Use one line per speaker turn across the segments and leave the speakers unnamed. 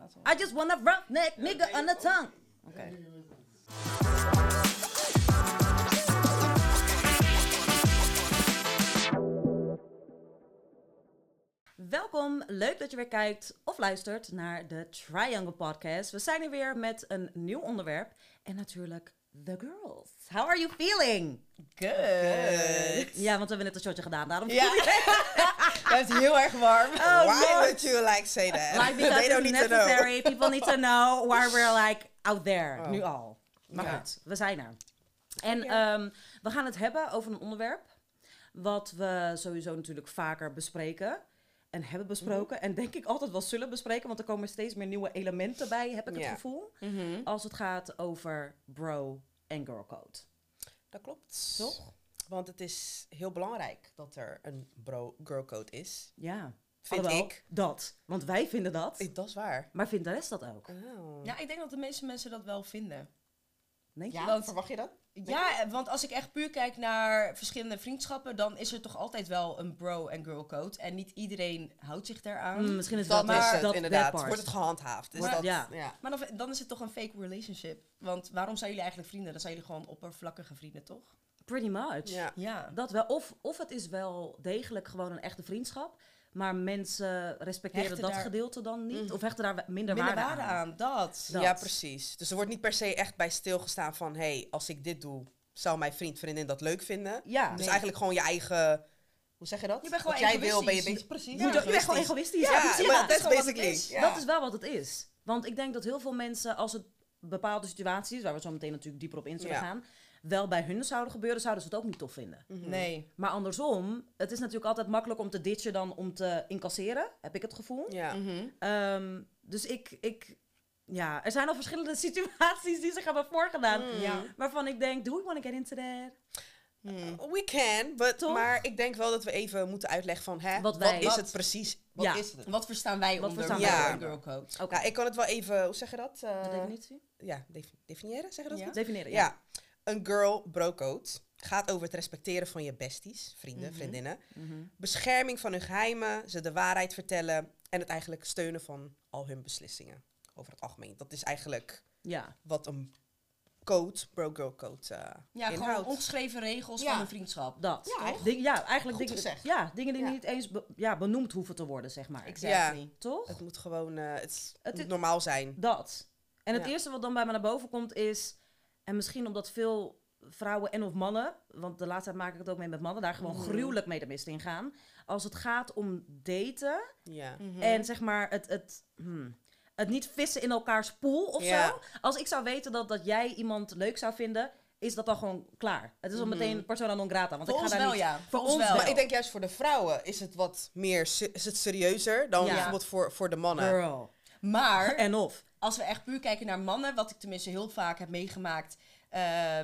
That's all.
I just want a rough neck nigga on the tongue. Okay. Welkom, leuk dat je weer kijkt of luistert naar de Triangle Podcast. We zijn er weer met een nieuw onderwerp en natuurlijk The Girls. How are you feeling?
Good.
Ja, want we hebben net een shotje gedaan, daarom
Ja. Het is heel erg warm.
Oh,
Why
Lord.
would you like say that?
Like because
they don't
it's
need to know.
necessary. People need to know where we're like out there. Nu al. Maar
Ja.
goed, we zijn er. En
Ja.
ehm, we gaan het hebben over een onderwerp wat we sowieso natuurlijk vaker bespreken en hebben
Mhm.
besproken. En denk ik altijd wel zullen bespreken, want er komen steeds meer nieuwe elementen bij, heb ik het
Ja. Mhm.
gevoel. Als het gaat over bro en girl code.
Dat klopt. Toch? Want het is heel belangrijk dat er een bro-girl code is.
Ja.
Vind
Alhoewel,
ik.
Dat. Want wij vinden dat.
Eh, Dat is waar.
Maar vindt de rest dat ook?
Ja, ik denk dat de meeste mensen dat wel vinden.
Nee?
Ja,
Want-
verwacht je dat?
Ja, eh, want als ik echt puur kijk naar verschillende vriendschappen, dan is er toch altijd wel een bro- en girl code. En niet iedereen houdt zich daaraan.
Mm, misschien is
Dat
dat,
is
maar-
het,
dat
inderdaad.
that part.
Wordt het gehandhaafd? Is
Maar-
dat,
ja.
ja.
Maar dan, dan is het toch een fake relationship. Want waarom zijn jullie eigenlijk vrienden? Dan zijn jullie gewoon oppervlakkige vrienden, toch?
Pretty much.
Ja.
Ja.
Dat wel. Of, of het is wel degelijk gewoon een echte vriendschap. Maar mensen respecteren
Hechten
dat
daar-
gedeelte dan niet. Of hechten daar wa- minder,
Minder
waarde,
waarde
aan.
aan, dat.
Dat.
ja, precies. Dus er wordt niet per se echt bij stilgestaan van... hé, hey, als ik dit doe, zou mijn vriend, vriendin dat leuk vinden?
Ja.
Dus eigenlijk gewoon je eigen... Hoe zeg je dat?
Je bent gewoon
Wat jij wil, ben je
egoïstisch.
bezig.
Precies.
Je, moet ook- je bent gewoon
egoïstisch.
egoïstisch.
Ja,
Ja, precies.
maar
Ja,
that's
gewoon wat het
basically.
is.
ja.
Dat is wel wat het is. Want ik denk dat heel veel mensen, als het bepaalde situaties... waar we zo meteen natuurlijk dieper op in zullen
Ja.
gaan... wel bij hun zouden gebeuren, zouden ze het ook niet tof vinden.
Mhm.
Nee.
Maar andersom, het is natuurlijk altijd makkelijk om te ditchen dan om te incasseren. Heb ik het gevoel.
Ja.
Mhm.
Ehm, dus ik, ik, ja, er zijn al verschillende situaties die zich hebben voorgedaan.
Ja.
Waarvan ik denk, do we want to get into that?
We can, but,
Toch?
maar ik denk wel dat we even moeten uitleggen van... Hè,
Wat
wat,
wij-
is
Wat-
het precies?
Ja.
is het?
Wat verstaan wij
Wat
onder
verstaan
wij
bro- en
onder?
girl code?
Oké,
Ja, ik kan het wel even... Hoe zeg je dat? Eh,
de definitie?
ja, defi- definiëren, zeg je dat
Ja.
goed?
Definiëren, ja.
Ja, een girl bro code gaat over het respecteren van je besties, vrienden,
Mhm.
vriendinnen. Bescherming van hun geheimen, ze de waarheid vertellen en het eigenlijk steunen van al hun beslissingen over het algemeen. Dat is eigenlijk
Ja.
wat een code, bro girl code eh
Ja, gewoon
inhoudt.
ongeschreven regels
Ja.
van een vriendschap.
Dat.
Ja,
toch? Ding- ja, eigenlijk
Goed
dingen,
gezegd.
Ja, dingen die
Ja.
niet eens be- ja, benoemd hoeven te worden, zeg maar.
Exactly.
Toch?
Het moet gewoon eh, het is-
Het
moet
is-
normaal zijn.
Dat. En het
Ja.
eerste wat dan bij me naar boven komt is, en misschien omdat veel vrouwen en of mannen, want de laatste tijd maak ik het ook mee met mannen, daar
Mm.
gewoon gruwelijk mee de mist in gaan. Als het gaat om daten,
Ja.
En zeg maar, het, het, hmm, het niet vissen in elkaars poel of
Ja.
zo. Als ik zou weten dat, dat jij iemand leuk zou vinden, is dat dan gewoon klaar. Het is al
Mhm.
meteen persona non grata. Want
Voor
ik ga
ons
daar
wel,
niet...
ja.
Voor ons wel.
Maar ik denk juist voor de vrouwen is het wat meer se- is het serieuzer dan
Ja.
bijvoorbeeld voor, voor de mannen.
Girl.
Maar
En of.
als we echt puur kijken naar mannen, wat ik tenminste heel vaak heb meegemaakt eh,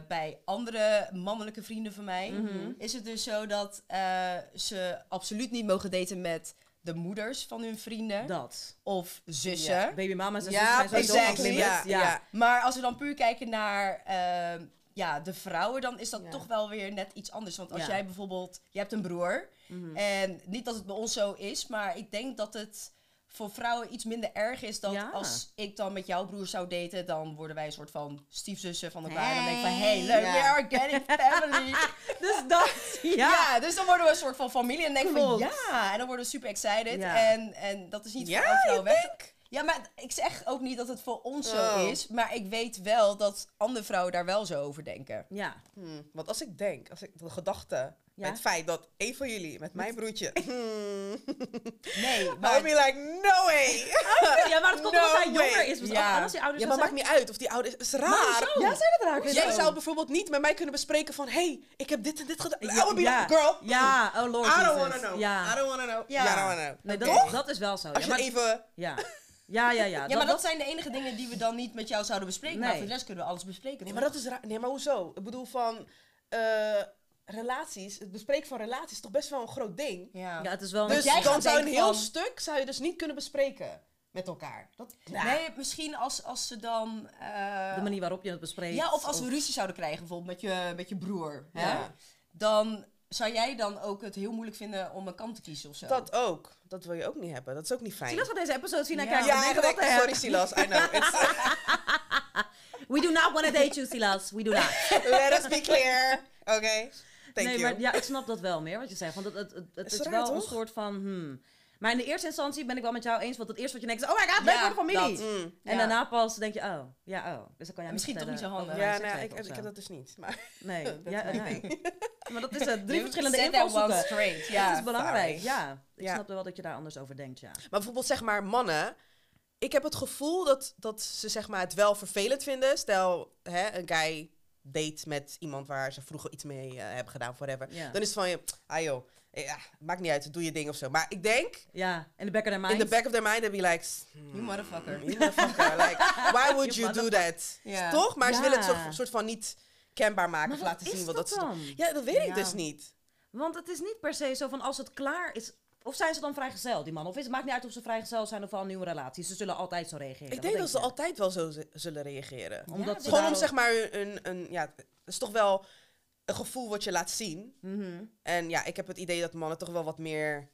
bij andere mannelijke vrienden van mij, is het dus zo dat eh, ze absoluut niet mogen daten met de moeders van hun vrienden
Dat.
of zussen.
Baby mama's en
Ja,
zussen dus zijn sowieso
exactly.
off limits.
Ja,
Ja.
ja.
Maar als we dan puur kijken naar eh, ja, de vrouwen, dan is dat
Ja.
toch wel weer net iets anders. Want als
Ja.
jij bijvoorbeeld, je hebt een broer. En niet dat het bij ons zo is, maar ik denk dat het voor vrouwen iets minder erg is dat
Ja.
als ik dan met jouw broer zou daten, dan worden wij een soort van stiefzussen van elkaar. En dan denk ik van,
Hey.
hey, leuk,
Ja.
we are getting family.
Dus dat.
ja.
Ja.
dus dan worden we een soort van familie en dan denk ik van,
Klopt.
ja. En dan worden we super excited.
Ja.
En, en dat is niet
Ja,
voor elke vrouw
je
weg. Ja, maar ik zeg ook niet dat het voor ons
Oh.
zo is. Maar ik weet wel dat andere vrouwen daar wel zo over denken.
Ja.
Hmm, Want als ik denk, als ik de gedachte
Ja?
bij het feit dat een van jullie met mijn broertje.
Nee,
maar I'll
maar...
be like, no way!
Ja, maar het komt
No
omdat hij
way.
jonger is. Dus
Ja.
anders die ouders
Ja, maar
dat
maakt niet uit of die ouders. Het is raar.
zijn. Ja, zijn het raar?
Jij zou bijvoorbeeld niet met mij kunnen bespreken van, hey, ik heb dit en dit gedaan. I would be
ja.
like, girl,
Ja, oh lord
I don't
Jesus.
wanna know.
Ja.
I don't wanna know.
Ja.
Ja, I don't wanna know.
Nee, dat,
Toch?
dat is wel zo.
Als
Ja,
je
maar,
even.
ja. ja, ja, ja.
Ja, maar dat zijn de enige dingen die we dan niet met jou zouden bespreken.
Nee.
Maar voor de rest kunnen we alles bespreken.
Nee, maar dat is raar. Nee, maar hoezo? Ik bedoel van. eh, relaties, het bespreken van relaties is toch best wel een groot ding.
Ja.
Ja, het is wel...
Dus
jij
dan
gaat
zou een
denken
heel
van-
stuk zou je dus niet kunnen bespreken met elkaar. Dat,
Nee, misschien als, als ze dan... eh,
de manier waarop je het bespreekt.
Ja, of als we ruzie zouden krijgen bijvoorbeeld met je, met je broer. Hè?
Ja.
Dan zou jij dan ook het heel moeilijk vinden om een kant te kiezen of zo?
Dat ook. Dat wil je ook niet hebben. Dat is ook niet fijn.
Silas gaat deze episode zien en
Ja.
kijken.
ja,
Ja,
ik
wat
denk-
de heck.
sorry Silas, I know. It's-
We do not want to date you, Silas. We do not.
let us be clear. Oké, thank
nee,
you.
maar ja, ik snap dat wel meer wat je zegt. Want het, het, het, het
Is
is,
raar,
wel een
toch?
soort van... hmm. Maar in de eerste instantie ben ik wel met jou eens. Want het eerste wat je denkt is... Oh my god, leuk
Ja,
voor de familie.
dat.
Mm.
En
Ja.
daarna pas denk je... Oh, ja, oh. Dus dan kan jij
Misschien toch niet zo handig.
Ja, nou, ik, ik heb dat dus niet. Maar
Nee.
dat
ja,
is
eh, nee. Maar dat is het. Drie
You
verschillende
said that
invalshoeken.
one straight,
Dat
ja.
is belangrijk.
sorry.
Ja, ik
Ja.
snap wel dat je daar anders over denkt, ja.
Maar bijvoorbeeld zeg maar mannen. Ik heb het gevoel dat, dat ze zeg maar, het wel vervelend vinden. Stel, hè, een guy date met iemand waar ze vroeger iets mee eh, hebben gedaan, whatever.
Ja.
Dan is het van je, ah joh, ja, maakt niet uit, doe je ding of zo. Maar ik denk,
Ja, in de back of their
in the
minds.
back of their mind, they'd be like,
You motherfucker.
Hmm. you motherfucker, like, why would you do that?
Ja.
Toch? Maar ze
Ja.
willen het soort, soort van niet kenbaar maken
Maar
of
wat
laten
is
zien wat
dat
dat ze doen.
dan?
Ja, dat weet
Ja.
ik dus niet.
Want het is niet per se zo van als het klaar is... Of zijn ze dan vrijgezel, die man? Of is, het maakt niet uit of ze vrijgezel zijn of al een nieuwe relatie. Ze zullen altijd zo reageren.
Ik denk dat ze
altijd
altijd wel zo z- zullen reageren.
Ja,
Omdat ze
Gewoon om
daarop-
zeg maar een, een ja, het is toch wel een gevoel wat je laat zien.
Mhm.
En ja, ik heb het idee dat mannen toch wel wat meer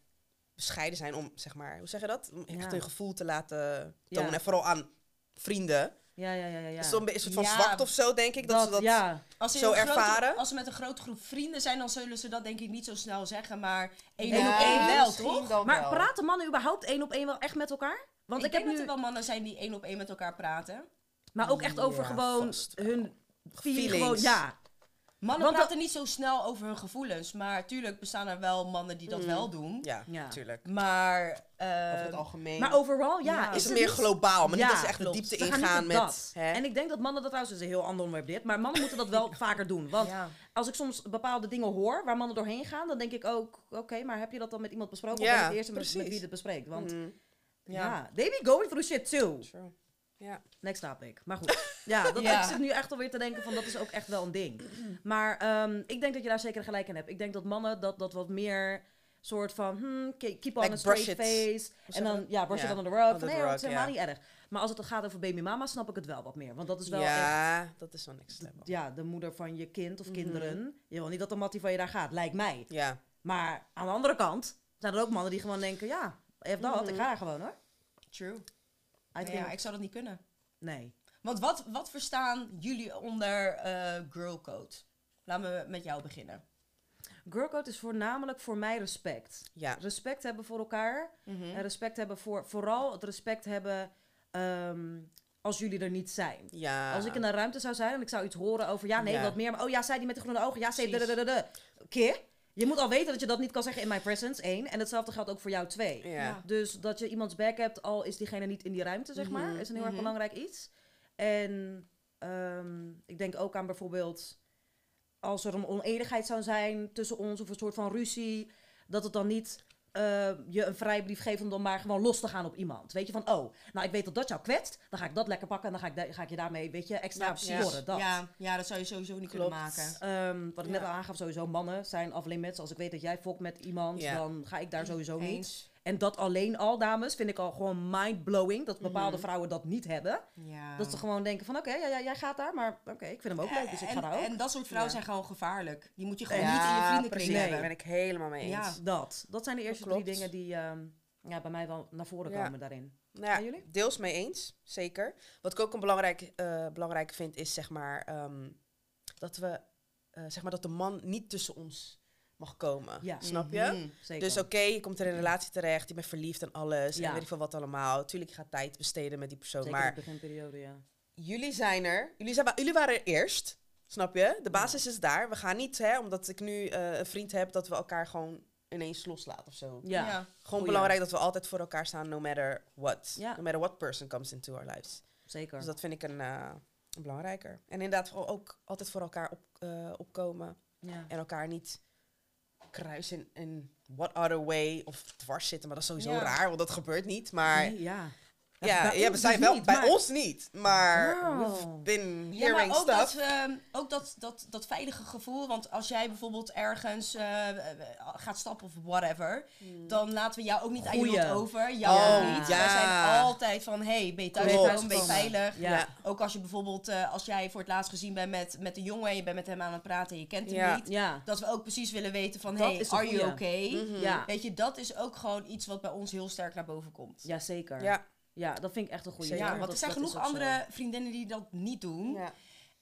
bescheiden zijn om, zeg maar, hoe zeg je dat? Om echt
Ja.
hun gevoel te laten tonen.
Ja.
En vooral aan vrienden.
Ja, ja, ja, ja. ja.
Is dat een be- een soort van
Ja.
zwakte of zo, Dus denk ik. Dat, ze dat,
Ja,
Als ze
Zo
een grote-
ervaren?
als ze met een grote groep vrienden zijn, dan zullen ze dat denk ik niet zo snel zeggen. Maar één
Ja,
op één wel,
misschien
toch?
dan
maar
wel.
praten mannen überhaupt één op één wel echt met elkaar? Want
Want
ik,
ik,
heb
denk
nu,
dat er wel mannen zijn die één op één met elkaar praten.
maar ook echt over
Ja,
gewoon
vast wel.
hun
Feelings.
gewoon, ja.
Mannen
Want
praten niet zo snel over hun gevoelens. Maar tuurlijk bestaan er wel mannen die dat wel doen.
Ja,
Ja. Ehm,
natuurlijk.
Maar... eh,
Over het algemeen.
Maar overal, ja. is
Ja.
is
het
het meer
niet-
globaal, maar
Ja,
niet dat ze echt de
klopt.
diepte
Ze gaan niet
ingaan
op
met...
dat.
Hè?
En ik denk dat mannen dat trouwens is een heel ander onderwerp dit, maar mannen moeten dat wel vaker doen. Want
ja.
als ik soms bepaalde dingen hoor waar mannen doorheen gaan, dan denk ik ook, oké, maar heb je dat dan met iemand besproken?
Ja,
of ben je het eerste met, met
precies.
wie het bespreekt? Want
Mhm.
ja. they be going through shit too.
True. Ja.
Next topic. Maar goed. Ja, dat
Ja.
ik zit nu echt alweer te denken van dat is ook echt wel een ding. Maar ehm, ik denk dat je daar zeker gelijk in hebt. Ik denk dat mannen dat, dat wat meer soort van hmm, ke- keep on
Like
a straight
brush it.
face. En
zeg je
dan ja, brush
Ja,
it under the rug.
under
Van
the
nee, dat is
rug,
helemaal
ja.
niet erg. Maar als het dan gaat over baby mama, snap ik het wel wat meer. Want dat is wel echt
ja, Mhm. dat is wel niks.
de,
level.
ja, de moeder van je kind of kinderen. Je wil niet dat de mattie van je daar gaat, lijkt mij.
Ja.
Maar aan de andere kant zijn er ook mannen die gewoon denken, ja, even dat, ik ga gewoon hoor.
True.
I
Ja,
think-
ik zou dat niet kunnen.
Nee.
Want wat, wat verstaan jullie onder eh girl code? Laten we met jou beginnen.
Girlcode is voornamelijk voor mij respect.
Ja.
Respect hebben voor elkaar. En respect hebben voor, vooral het respect hebben ehm, als jullie er niet zijn.
ja.
Als ik in een ruimte zou zijn en ik zou iets horen over, ja, nee,
Ja.
wat meer. Maar, oh ja, zij die met de groene ogen. Ja, zij.
Precies.
dadadadada. Keer. Je moet al weten dat je dat niet kan zeggen in my presence, één. En hetzelfde geldt ook voor jou, twee.
Ja.
Dus dat je iemands back hebt, al is diegene niet in die ruimte, zeg maar,
Mhm,
is een heel erg belangrijk iets. En ehm, ik denk ook aan bijvoorbeeld als er een oneenigheid zou zijn tussen ons of een soort van ruzie, dat het dan niet eh, je een vrijbrief geeft om dan maar gewoon los te gaan op iemand. Weet je van, oh, nou ik weet dat dat jou kwetst, dan ga ik dat lekker pakken en dan ga ik, da- ga ik je daarmee, weet je, extra
precies.
storen. Dat.
Ja, ja, dat zou je sowieso niet kunnen
Klopt.
maken.
Ehm, wat ik net
Ja.
al aangaf, sowieso mannen zijn af limits. Als ik weet dat jij fokt met iemand,
Ja.
dan ga ik daar sowieso niet.
Mm, Eens.
En dat alleen al, dames, vind ik al gewoon mind-blowing. Dat bepaalde vrouwen dat niet hebben.
Ja.
Dat ze gewoon denken van, oké, ja, ja, jij gaat daar, maar oké, ik vind hem ook leuk, dus ik ga
en,
daar ook.
en dat soort vrouwen
Ja.
zijn gewoon gevaarlijk. Die moet je gewoon
Ja,
niet in je
precies.
vriendenkring
Nee.
hebben.
Daar ben ik helemaal mee eens.
Ja.
dat. Dat zijn de eerste drie
klopt.
dingen die ehm, ja, bij mij wel naar voren
Ja.
komen daarin.
Nou ja,
En jullie?
deels mee eens, zeker. Wat ik ook een belangrijk, eh, belangrijk vind, is zeg maar, ehm, dat we, eh, zeg maar dat de man niet tussen ons mag komen.
Ja.
Snap je?
Mhm.
Zeker.
Dus oké, je komt er in een relatie terecht, je bent verliefd en alles,
Ja.
en weet ik veel wat allemaal. Tuurlijk, je gaat tijd besteden met die persoon,
Zeker in
maar
de beginperiode, ja.
jullie zijn er. Jullie, zijn, wa- jullie waren er eerst, snap je? De basis is daar. We gaan niet, hè, omdat ik nu eh, een vriend heb, dat we elkaar gewoon ineens loslaten of zo.
Ja. ja.
Gewoon
Goeie.
belangrijk dat we altijd voor elkaar staan, no matter what.
Ja.
No matter what person comes into our lives.
zeker.
Dus dat vind ik een, eh, een belangrijker. En inderdaad vooral ook altijd voor elkaar op, eh, opkomen.
ja.
En elkaar niet kruisen in, in what other way of dwars zitten. Maar dat is sowieso
Ja.
raar, want dat gebeurt niet. Maar
Nee, ja.
Ja,
bij
ja, we
ons
zijn
dus
wel,
niet,
bij
maar-
ons niet, maar
Wow.
we've been
Ja, maar
hearing
ook, dat,
stuff.
ehm, ook dat, dat, dat veilige gevoel. Want als jij bijvoorbeeld ergens eh, eh, gaat stappen of whatever, dan laten we jou ook niet aan
Goeie.
iemand over. Jou
Oh, Ja.
ook niet. Wij
Ja.
zijn altijd van, hey, ben je thuis
Klopt.
gekomen? Ben je veilig?
Ja.
Ja.
Ook als je bijvoorbeeld, eh, als jij voor het laatst gezien bent met, met een jongen en je bent met hem aan het praten en je kent hem
Ja.
niet.
Ja.
Dat we ook precies willen weten van,
Dat
hey,
is een
are you
goeie. Mhm.
okay?
Mhm.
Ja.
Weet je, dat is ook gewoon iets wat bij ons heel sterk naar boven komt. Ja,
ja, zeker. Ja.
Ja,
dat vind ik echt een goede.
Zeker.
Ja,
want
dat-
er zijn
dat is
genoeg
ook zo.
andere vriendinnen die dat niet doen.
ja.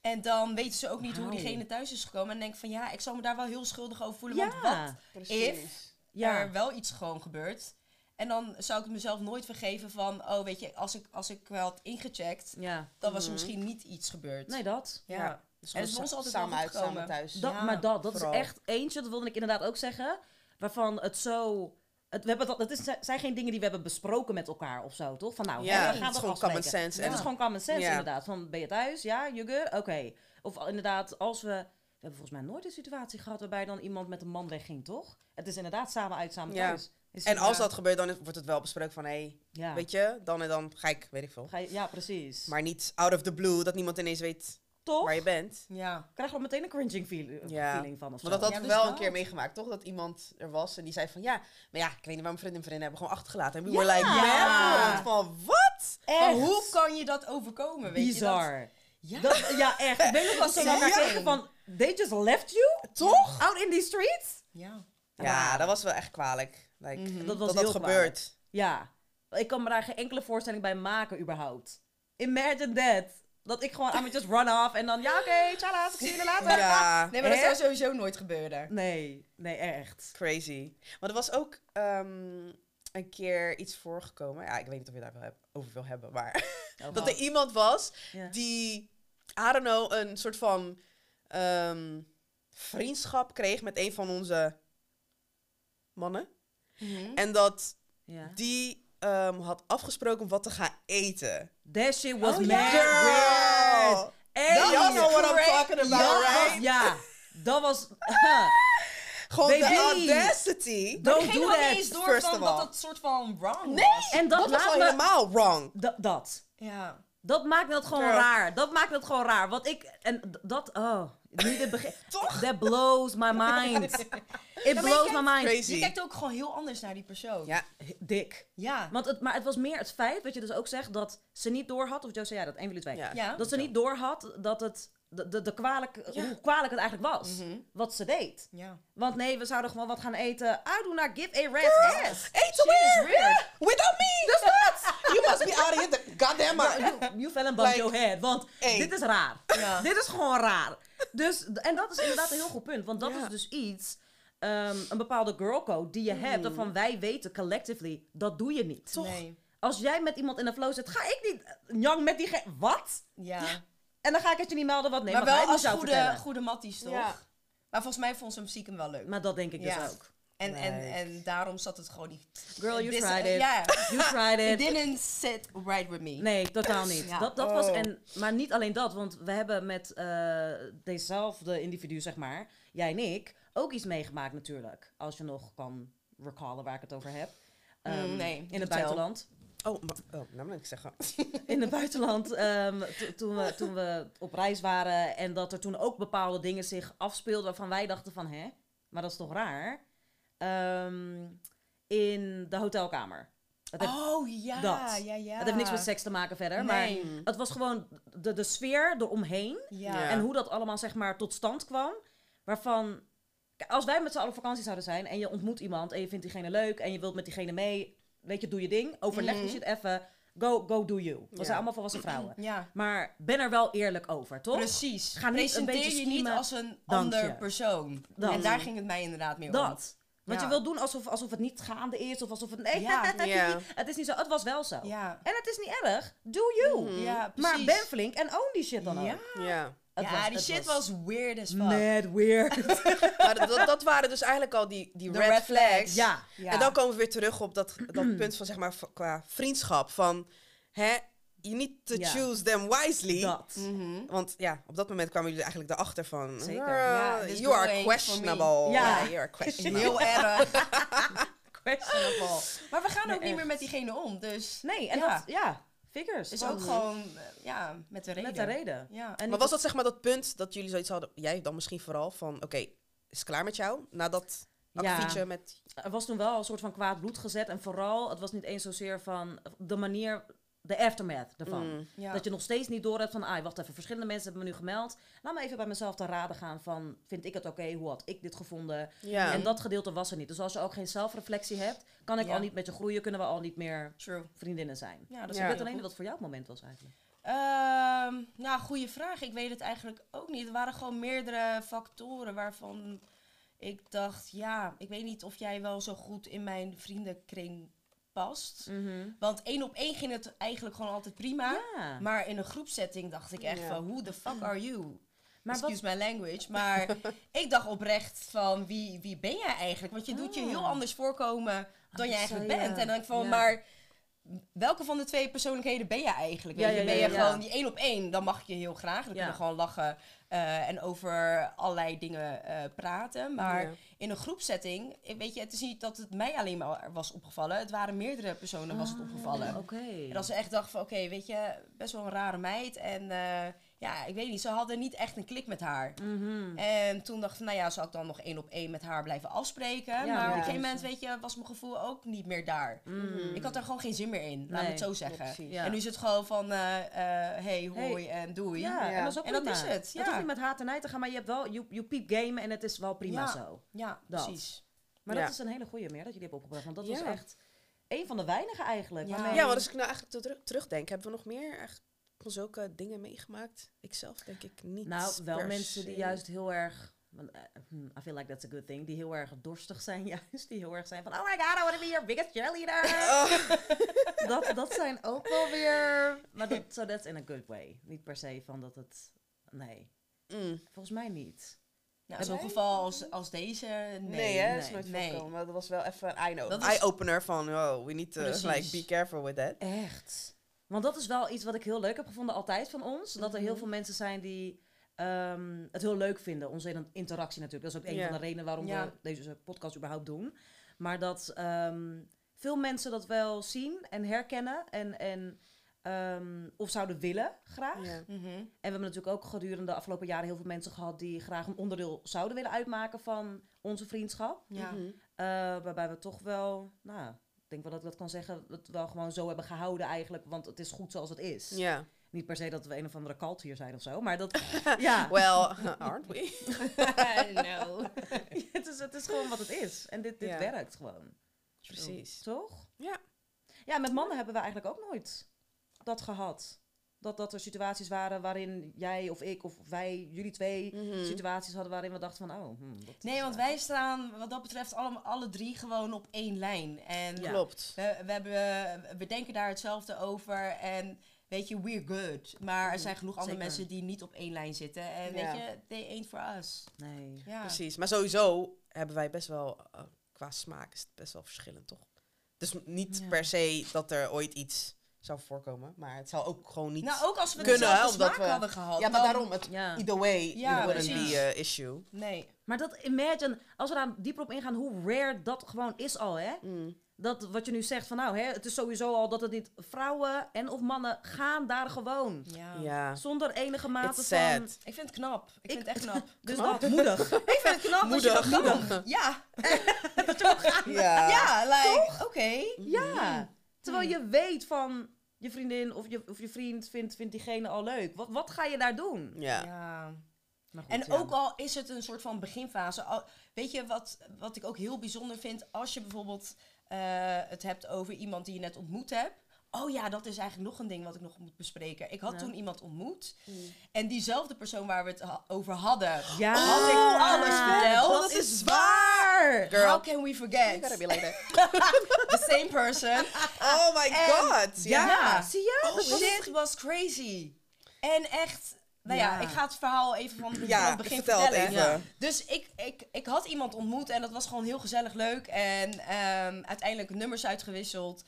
En dan weten ze ook niet hoe
Wauw.
diegene thuis is gekomen. En denk van ja, ik zal me daar wel heel schuldig over voelen.
Ja.
Want wat
precies.
ja.
er wel iets gewoon gebeurt. En dan zou ik het mezelf nooit vergeven van, oh weet je, als ik, als ik wel had ingecheckt,
Ja.
dan was er misschien niet iets gebeurd.
Mhm. Nee, dat.
Ja.
Ja.
Dus
En het is
gewoon
bij ons
sa-
altijd wel
samen
goed
uit, samen
gekomen.
thuis.
dat
Ja,
maar dat, dat
vooral.
is echt eentje, dat wilde ik inderdaad ook zeggen, waarvan het zo... Het, we hebben dat, het is, zijn geen dingen die we hebben besproken met elkaar of zo, toch? Van nou,
Ja,
hè,
het
we
is
gaan dat
gewoon
afspreken.
common sense
Het
en-
is gewoon common sense
Ja.
inderdaad. Van, ben je thuis? Ja, you good? Oké. Of al- inderdaad, als we... We hebben volgens mij nooit een situatie gehad waarbij dan iemand met een man wegging, toch? Het is inderdaad samen uit, samen
Ja.
thuis. Is
En
het-
als
ja.
dat gebeurt, dan is- wordt het wel besproken van, hé, hey,
Ja,
weet je, dan en dan ga ik, weet ik veel.
Ga je- ja precies.
Maar niet out of the blue, dat niemand ineens weet
toch?
waar je bent.
Ja.
krijg je al meteen een cringing feel-
Ja.
feeling van of zo.
Want dat hadden we
Ja, dus
wel een
dat.
keer meegemaakt, toch? Dat iemand er was en die zei van, ja, maar ja, ik weet niet waar mijn vriendin en vriendin hebben gewoon achtergelaten. En we were like, baffled van, wat?
Maar
Echt.
hoe kan je dat overkomen? Weet Je
Bizar.
Ja.
Ja. ja, echt. Ik weet nog wel zo naar elkaar
Ja.
kijken van... They just left you?
Toch?
Out in these streets?
dat? Ja.
Ja, dat was wel echt kwalijk. Like,
Dat was
dat
heel
dat
kwalijk.
gebeurt.
Ja. Ik kan me daar geen enkele voorstelling bij maken überhaupt. Imagine that. Dat ik gewoon... I'm just run off en dan... Ja, oké, tjala's, ik zie jullie later.
Ja,
Nee, maar dat
Hè?
zou sowieso nooit gebeuren.
Nee. Nee, echt.
crazy. Maar er was ook ehm, een keer iets voorgekomen. Ja, ik weet niet of je daar wel heb- over wil hebben, maar... dat er iemand was
Oh, Ja.
die, I don't know, een soort van ehm, vriendschap kreeg met een van onze mannen.
Mhm.
En dat
Hm? Ja.
die ehm, had afgesproken om wat te gaan eten.
That shit was
Oh, ja.
mad
Girl!
weird. Hey.
Y'all know what I'm
crazy.
talking about,
Dat was-
right?
Ja. Dat was...
Gewoon
Baby.
de audacity.
Don't
Geen
do
had niet eens
that.
door
first
van
of
dat
all.
dat soort van wrong
Nee.
was.
En dat,
Dat was
laat
al
me...
helemaal wrong.
Da- dat.
Ja.
Dat maakt het gewoon
Girl.
raar. Dat maakt het gewoon raar. Want ik. En d- dat. Oh. Niet het begin. Toch? That blows my mind. It blows my mind.
Je
Crazy.
kijkt ook gewoon heel anders naar die persoon.
Ja,
Dik.
Ja.
Want het, maar het was meer het feit, wat je dus ook zegt, dat ze niet doorhad. Of Joe zei ja, dat een van jullie twee.
ja.
Ja.
Dat ze niet doorhad dat het. De, de, de kwalijk, Hoe kwalijk het eigenlijk was.
Mhm.
Wat ze deed.
Ja.
Want nee, we zouden gewoon wat gaan eten. I do not give a rat's ass.
Eten
Shit is weird.
Without me! That's not! You must be out of here. the- Goddamn.
Maar
I-
you, you fell and bumped
Like,
your head. Want
hey.
dit is raar.
Ja.
Dit is gewoon raar. Dus, d- en dat is inderdaad een heel goed punt. Want dat
Ja.
is dus iets, ehm, een bepaalde girlcode die je hebt. Waarvan wij weten, collectively, dat doe je niet.
Nee.
Als jij met iemand in de flow zit, ga ik niet eh, jang met die... ge- Wat?
Ja.
En dan ga ik het je niet melden wat nee,
maar
maar,
wel
hij moest
als
jou
goede,
vertellen.
goede matties, toch?
Ja.
Maar volgens mij vond ze hem stiekem wel leuk.
Maar dat denk ik
Ja.
dus ook.
En, en,
Like.
en daarom zat het gewoon niet.
Girl, you
This-
tried it.
Ja.
You
It
tried it.
didn't sit right with me. Mm,
Nee, totaal niet.
Ja.
Dat, dat was
Oh.
en, maar niet alleen dat, want we hebben met eh, dezelfde individu, zeg maar, jij en ik, ook iets meegemaakt natuurlijk. Als je nog kan recallen waar ik het over heb. Ehm,
Mm, nee,
in
vertel.
het buitenland.
Oh, maar- oh, nou moet ik zeggen.
In het buitenland, ehm, to- toen, we, toen we op reis waren en dat er toen ook bepaalde dingen zich afspeelden waarvan wij dachten van, hè, maar dat is toch raar? Ehm, in de hotelkamer. Het heeft,
Oh ja,
Dat.
ja, ja.
het heeft niks met seks te maken verder, maar
Nee.
het was gewoon de, de sfeer eromheen.
Ja.
Ja.
En hoe dat allemaal zeg maar tot stand kwam. Waarvan, Kijk, als wij met z'n allen op vakantie zouden zijn en je ontmoet iemand en je vindt diegene leuk en je wilt met diegene mee, weet je, doe je ding. Overleg
Mhm.
dus je het even. Go, go do you. We
Ja.
zijn allemaal volwassen vrouwen.
Ja.
Maar ben er wel eerlijk over, toch?
Precies.
Ga niet een
Presenteer
beetje
je niet
schiemen.
als een
Dank
ander
je.
persoon.
Dat.
En daar ging het mij inderdaad meer om.
Dat. Want
Ja.
je wilt doen alsof, alsof het niet gaande is of alsof het... Nee,
Ja.
het, is
Ja.
niet, het is niet zo. Het was wel zo.
Ja.
En het is niet erg. Do you.
Ja,
Oh. maar
precies.
ben flink en own die shit dan
Ja,
ook.
Ja.
Het
ja
was-
die
het
shit was... weird as fuck.
Mad weird.
Maar dat, dat waren dus eigenlijk al die, die
De
red,
red
flags.
flags.
ja.
Ja.
En dan komen we weer terug op dat, dat punt van, zeg maar, v- qua vriendschap. Van, hè, you need to
Ja.
choose them wisely.
Dat.
Mm. Mhm.
Want ja, op dat moment kwamen jullie eigenlijk erachter van...
Zeker.
girl,
Ja, this
you
girl
are
ain't
questionable.
for me. Ja.
you are questionable.
Heel erg.
Questionable.
maar we gaan
Nee,
ook niet meer
echt.
met diegene om, dus...
Nee, en
Ja.
dat, ja. Figures.
Is
van-
ook gewoon, eh, ja, met de reden.
Met de reden.
Ja.
En
Maar was dat zeg maar dat punt dat jullie zoiets hadden, jij dan misschien vooral, van oké, is het klaar met jou? Na dat
Ja.
akkefietje met...
er was toen wel een soort van kwaad bloed gezet. En vooral, het was niet eens zozeer van de manier, de aftermath ervan.
Mm.
Ja.
Dat je nog steeds niet door hebt van, ah, wacht even, verschillende mensen hebben me nu gemeld. Laat me even bij mezelf te raden gaan van, vind ik het oké? Hoe had ik dit gevonden?
Ja.
En dat gedeelte was er niet. Dus als je ook geen zelfreflectie hebt, kan ik
Ja.
al niet met je groeien, kunnen we al niet meer
True.
vriendinnen zijn. Dus
Ja, dat is
Ja.
ik
heel
weet alleen
goed.
niet wat voor jou het moment was eigenlijk.
Ehm, nou, goede vraag. Ik weet het eigenlijk ook niet. Er waren gewoon meerdere factoren waarvan ik dacht, ja, ik weet niet of jij wel zo goed in mijn vriendenkring past. Want één op één ging het eigenlijk gewoon altijd prima.
Ja.
Mhm. Maar in een groepsetting dacht ik echt
Ja.
van, who the fuck are you?
Maar wat,
Excuse my language. Maar ik dacht oprecht van, wie, wie ben jij eigenlijk? Want je doet je heel
Ah.
anders voorkomen dan
Ah,
je eigenlijk
zo, ja.
bent. En dan denk ik van,
Ja.
maar welke van de twee persoonlijkheden ben je eigenlijk?
Ja,
Weet je,
ja,
ben
ja,
je
ja.
gewoon die één op één, dan mag je heel graag.
Ja.
Dan kunnen we gewoon lachen eh, en over allerlei dingen eh, praten. Maar
Ja.
in een groepsetting, eh, weet je, het is niet dat het mij alleen maar was opgevallen. Het waren meerdere personen was het opgevallen.
Ah, oké.
En als ze echt dacht van, oké, weet je, best wel een rare meid. En eh, ja, ik weet niet, ze hadden niet echt een klik met haar.
Mhm.
En toen dacht ik, van, nou ja, zou ik dan nog één op één met haar blijven afspreken?
Ja,
maar op een
ja.
gegeven moment, weet je, was mijn gevoel ook niet meer daar.
Mhm.
Ik had er gewoon geen zin meer in, laat me
Nee,
het zo
Ja,
zeggen.
precies.
Ja.
En nu is het gewoon van, eh, eh, hey,
Hey.
hoi en doei.
Ja,
Ja.
en dat is ook
En dat
prima.
is het,
Dat
ja.
hoeft niet met haat en nijd te gaan, maar je hebt wel, je, je piep gamen en het is wel prima
Ja.
zo.
Ja,
Dat.
precies.
Maar
Ja.
dat is een hele goeie meer dat jullie hebben opgebracht. Want dat was
Ja.
echt een van de weinigen eigenlijk.
Ja.
waarmee-
Ja, maar als ik nou eigenlijk te terug- terugdenk, hebben we nog meer echt van zulke dingen meegemaakt? Ikzelf denk ik niet
Nou, wel
per
mensen
se.
die juist heel erg... want, eh, hmm, I feel like that's a good thing. Die heel erg dorstig zijn juist. Die heel erg zijn van... Oh my god, I want to be your biggest cheerleader.
Oh.
dat, dat zijn ook wel weer... Maar dat, so that's in a good way. Niet per se van dat het... Nee,
Mm.
volgens mij niet.
Nou, zo'n
Hebben
geval als, als deze, nee.
Nee, hè, dat is
nee,
nooit
nee.
voorkomen. Maar dat was wel even een eye-opener
Dat is-
Eye-opener van, wow, we need to
Precies.
like, be careful with that.
Echt. Want dat is wel iets wat ik heel leuk heb gevonden altijd van ons. Dat er
Mhm.
heel veel mensen zijn die ehm, het heel leuk vinden. Onze in- interactie natuurlijk. Dat is ook een
Ja.
van de redenen waarom
Ja.
we deze podcast überhaupt doen. Maar dat ehm, veel mensen dat wel zien en herkennen. En, en ehm, of zouden willen graag.
Ja.
Mhm.
En we hebben natuurlijk ook gedurende de afgelopen jaren heel veel mensen gehad... die graag een onderdeel zouden willen uitmaken van onze vriendschap.
Ja.
Mhm.
Eh, waarbij we toch wel, nou, ik denk wel dat ik dat kan zeggen, dat we wel gewoon zo hebben gehouden eigenlijk, want het is goed zoals het is.
Ja.
Niet per se dat we een of andere cult hier zijn of zo, maar dat, ja,
Well, aren't we?
no.
het is, het is gewoon wat het is. En dit, dit
Ja.
werkt gewoon,
Precies.
toch?
Ja.
Ja, met mannen hebben we eigenlijk ook nooit dat gehad. Dat, dat er situaties waren waarin jij of ik of wij, jullie twee,
Mhm.
situaties hadden waarin we dachten van, oh, hmm, dat
Nee,
is,
want
eh,
wij staan wat dat betreft allemaal, alle drie gewoon op één lijn. En
Ja.
Klopt.
we, we, hebben, we denken daar hetzelfde over en weet je, we're good. Maar er zijn genoeg andere
Zeker.
mensen die niet op één lijn zitten. En
Ja.
weet je, they ain't for us.
Nee.
Ja.
Precies. Maar sowieso hebben wij best wel, eh, qua smaak is het best wel verschillend, toch? Dus m- niet
Ja.
per se dat er ooit iets zou voorkomen, maar het zou ook gewoon niet...
Nou, ook als we
Kunnen,
dezelfde
hè, omdat
smaak
we-
hadden gehad.
ja, maar
dan-
daarom, het,
Ja.
either way,
Ja,
it wouldn't
precies.
be an issue.
Nee.
Maar dat, imagine, als we daar dieper op ingaan, hoe rare dat gewoon is al, hè?
Mm.
Dat wat je nu zegt van nou, hè, het is sowieso al dat het niet... Vrouwen en of mannen gaan daar gewoon.
Ja.
Ja,
Zonder enige mate
it's
van...
sad.
Ik vind het knap. Ik, vind het echt knap.
Dus
Knap.
dat, moedig.
ik vind het knap dat je dat
Moedig.
kan. Ja.
Ja.
Ja, like, oké.
ja. Terwijl je weet van je vriendin of je, of je vriend vindt, vindt diegene al leuk. Wat, wat ga je daar doen?
Ja.
ja.
Maar goed,
En
ja.
ook al is het een soort van beginfase. al- weet je wat, wat ik ook heel bijzonder vind? Als je bijvoorbeeld eh, het hebt over iemand die je net ontmoet hebt. Oh ja, dat is eigenlijk nog een ding wat ik nog moet bespreken. Ik had
Ja.
toen iemand ontmoet.
Mm.
En diezelfde persoon waar we het ha- over hadden.
Ja.
Had ik alles
Ja.
verteld?
Ah, dat is waar! Girl,
How can we
you gotta
forget?
be like that.
The same person.
Oh my
En-
god! Ja.
Ja.
Zie je?
Oh, shit was crazy. En echt, nou ja,
Ja.
ik ga het verhaal even van
Ja,
van het begin
vertel het
vertellen.
even. Ja.
Dus ik, ik, ik had iemand ontmoet en dat was gewoon heel gezellig leuk. En ehm, uiteindelijk nummers uitgewisseld.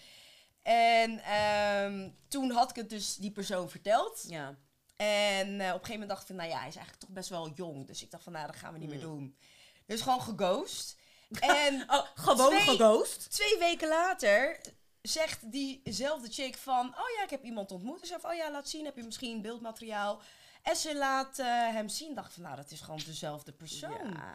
En ehm, toen had ik het dus die persoon verteld.
Ja.
En eh, op een gegeven moment dacht ik van, nou ja, hij is eigenlijk toch best wel jong. Dus ik dacht van, nou, dat gaan we niet meer doen. Dus gewoon geghost. En
Oh, gewoon
Twee-
geghost?
Twee weken later zegt diezelfde chick van... Oh ja, ik heb iemand ontmoet. Dus van, oh ja, laat zien. Heb je misschien beeldmateriaal? En ze laat eh, hem zien. dacht van, nou, dat is gewoon dezelfde persoon.
Ja,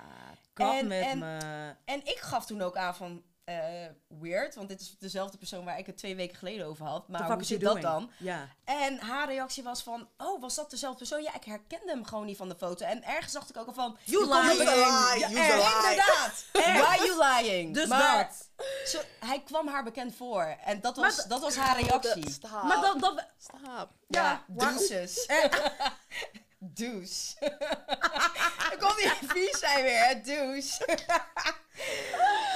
kap
En-
met
en-
me.
En ik gaf toen ook aan van... eh, weird, want dit is dezelfde persoon waar ik het twee weken geleden over had.
The
Maar
fuck
hoe
is you
zit dat
doing?
dan?
Ja.
En haar reactie was van, oh, was dat dezelfde persoon? Ja, ik herkende hem gewoon niet van de foto. En ergens dacht ik ook al van...
You
kon
lying.
het ook-
You
Ja,
lying.
inderdaad. Why you lying?
Dus
maar
dat.
ze- hij kwam haar bekend voor. En dat
Maar
was, dat was haar reactie.
Stop.
Maar dan... dan
Stop.
Ja,
Ja,
douces.
Eh.
Douche. ik kon niet vies zijn weer, hè, douche.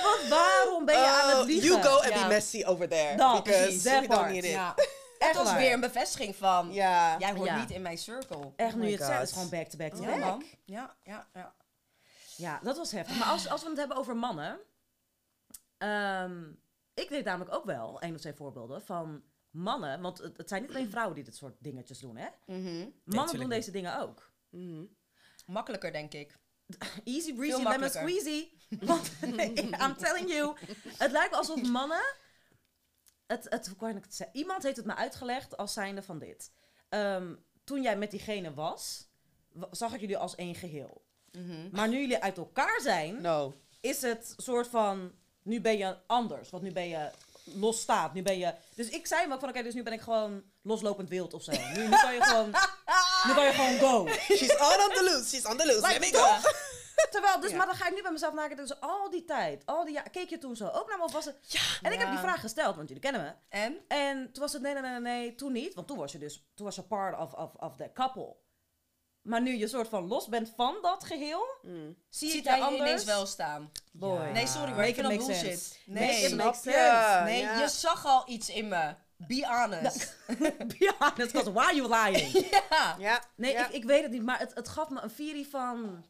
want waarom ben je aan het
Oh,
liegen?
You go and
Ja.
be messy over there.
Dat,
because
precies, that
we don't
part.
need it.
Ja. Het was
waar.
weer een bevestiging van,
Ja.
jij hoort
Ja. Eh.
niet in mijn circle.
Echt nu
Oh my
je het zegt,
God.
het is gewoon back to back to
Ja,
back.
man. Ja, ja, ja.
Ja, dat was heftig. Maar als, als we het hebben over mannen. ehm, ik weet namelijk ook wel één of twee voorbeelden van mannen. Want het, het zijn niet alleen vrouwen die dit soort dingetjes doen, hè?
Mhm.
Mannen
tuurlijk
doen deze dingen ook.
Makkelijker, denk ik.
Easy breezy, lemon
makkelijker.
squeezy. Want, I'm telling you. Het lijkt wel alsof mannen... Het, het, hoe kan ik het zeggen? Iemand heeft het me uitgelegd als zijnde van dit. Ehm, toen jij met diegene was, wa- zag ik jullie als één geheel. Maar nu jullie uit elkaar zijn...
No.
is het soort van, nu ben je anders, want nu ben je losstaat, nu ben je... Dus ik zei hem ook van, oké, dus nu ben ik gewoon loslopend wild of zo. Nu, nu kan je gewoon, nu kan je gewoon go.
She's all on the loose. She's on the loose. Let me go.
toch? Terwijl, dus,
Ja.
maar dan ga ik nu bij mezelf nadenken, dus al die tijd, al die jaar, keek je toen zo ook naar me of was het... en ik heb
Ja.
die vraag gesteld, want jullie kennen me.
En?
En toen was het nee, nee, nee, nee, toen niet. Want toen was je dus, toen was je part of, of, of that couple. Maar nu je soort van los bent van dat geheel,
Mm.
zie
Ziet
ik
hij
je
je
anders.
ineens wel staan?
Boy.
Nee, sorry, maar
Make
ik vind
it
dat
make
bullshit.
sense.
Nee,
Make it make
Snap
sense.
je?
nee
Ja.
je zag al iets in me. Be honest.
Be honest, 'cause why you lying?
Ja.
Ja.
Nee,
ja.
ik, ik weet het niet, maar het, het gaf me een furie van...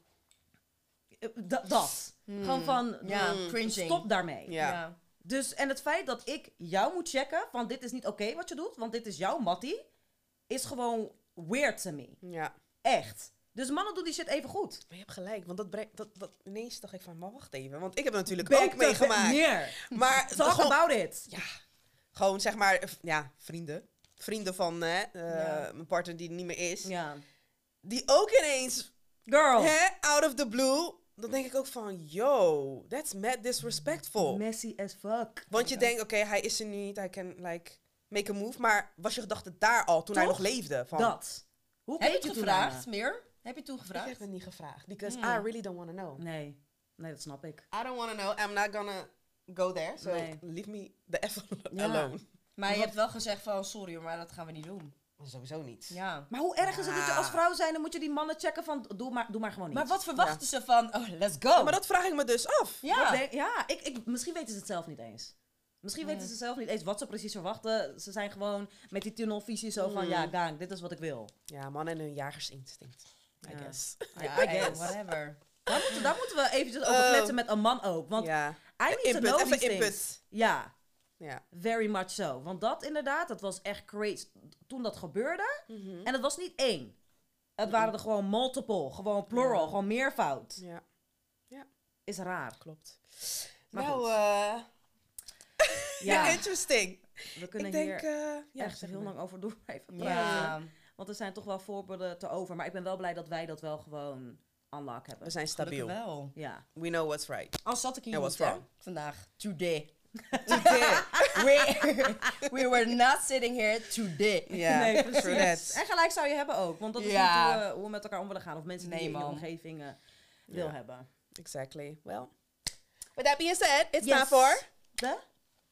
eh, da- dat. Gewoon van,
Hmm. Ja,
mm,
cringing.
stop daarmee.
Ja.
Dus, en het feit dat ik jou moet checken van dit is niet oké wat je doet, want dit is jouw mattie, is gewoon weird to me.
ja.
Echt. Dus mannen doen die shit even goed.
Maar je hebt gelijk, want dat brengt, dat, dat, ineens dacht ik van, maar wacht even, want ik heb het natuurlijk
Back
ook
the-
meegemaakt.
Meer.
Maar
Talk
gewoon,
about it.
ja, gewoon zeg maar, v- ja, vrienden. Vrienden van hè, eh,
Ja.
mijn partner die er niet meer is.
Ja. Oh.
Die ook ineens,
Girl.
hè, out of the blue. Dan denk ik ook van, yo, that's mad disrespectful.
Messy as fuck.
Want je denkt, oké, hij is er nu niet, hij kan like make a move. Maar was je gedachte daar al toen hij
Toch?
nog leefde? Van,
Dat. Hoe
Heb je
keek
het
je toen naar
gevraagd meer? Heb je toen
Ik
gevraagd?
heb het niet gevraagd, because
Hmm.
I really don't want to know.
me? Nee. Nee, dat snap ik.
I don't want to know, I'm not gonna go there. So
Nee.
leave me the F
Ja.
alone.
Maar je hebt wel gezegd van, sorry hoor, maar dat gaan we niet doen.
Sowieso niet.
Ja.
Maar hoe erg is het dat je als
Ja.
vrouw zijn, dan moet je die mannen checken van doe maar, doe maar gewoon niet.
Maar wat verwachten ze van, oh, let's go.
Ja, maar dat vraag ik me dus af.
Wat
ja.
denk- ja, ik, ik, misschien weten ze het zelf niet eens. Misschien weten ze zelf niet eens wat ze precies verwachten. Ze zijn gewoon met die tunnelvisie zo van
Mm.
ja, gang, dit is wat ik wil.
Ja, mannen en hun jagersinstinct. I
Ja.
guess.
Ja,
I guess.
Whatever.
Daar moeten, daar moeten we eventjes over
Oh.
kletsen met een man ook. Want
ja.
I need to
Input,
know
even
these
input.
things. Ja,
Ja.
very much so. Want dat inderdaad, dat was echt crazy toen dat gebeurde. En het was niet één. Het waren er gewoon multiple, gewoon plural, gewoon meervoud.
ja,
Is raar.
klopt.
Maar
nou,
goed.
eh,
Ja,
interesting.
we kunnen
Ik denk,
hier
eh, ja,
echt
zeg
heel
maar.
lang over doen. maar Even praten.
Ja.
Want er zijn toch wel voorbeelden te over. Maar ik ben wel blij dat wij dat wel gewoon unlock
We
hebben.
zijn
Gelukkig
stabiel.
wel.
Ja.
We know what's right.
Al zat ik hier
And
niet,
what's
hè,
wrong.
vandaag. Today.
Today.
We, we were not sitting here today.
Ja,
nee,
true
precies.
that.
En gelijk zou je hebben ook. Want dat is
Ja.
niet hoe, we- hoe we met elkaar om willen gaan. Of mensen die
Nee,
je in je
man.
omgeving eh, wil
Ja.
hebben.
Exactly. Well, with that being said, it's
Yes.
time for...
De?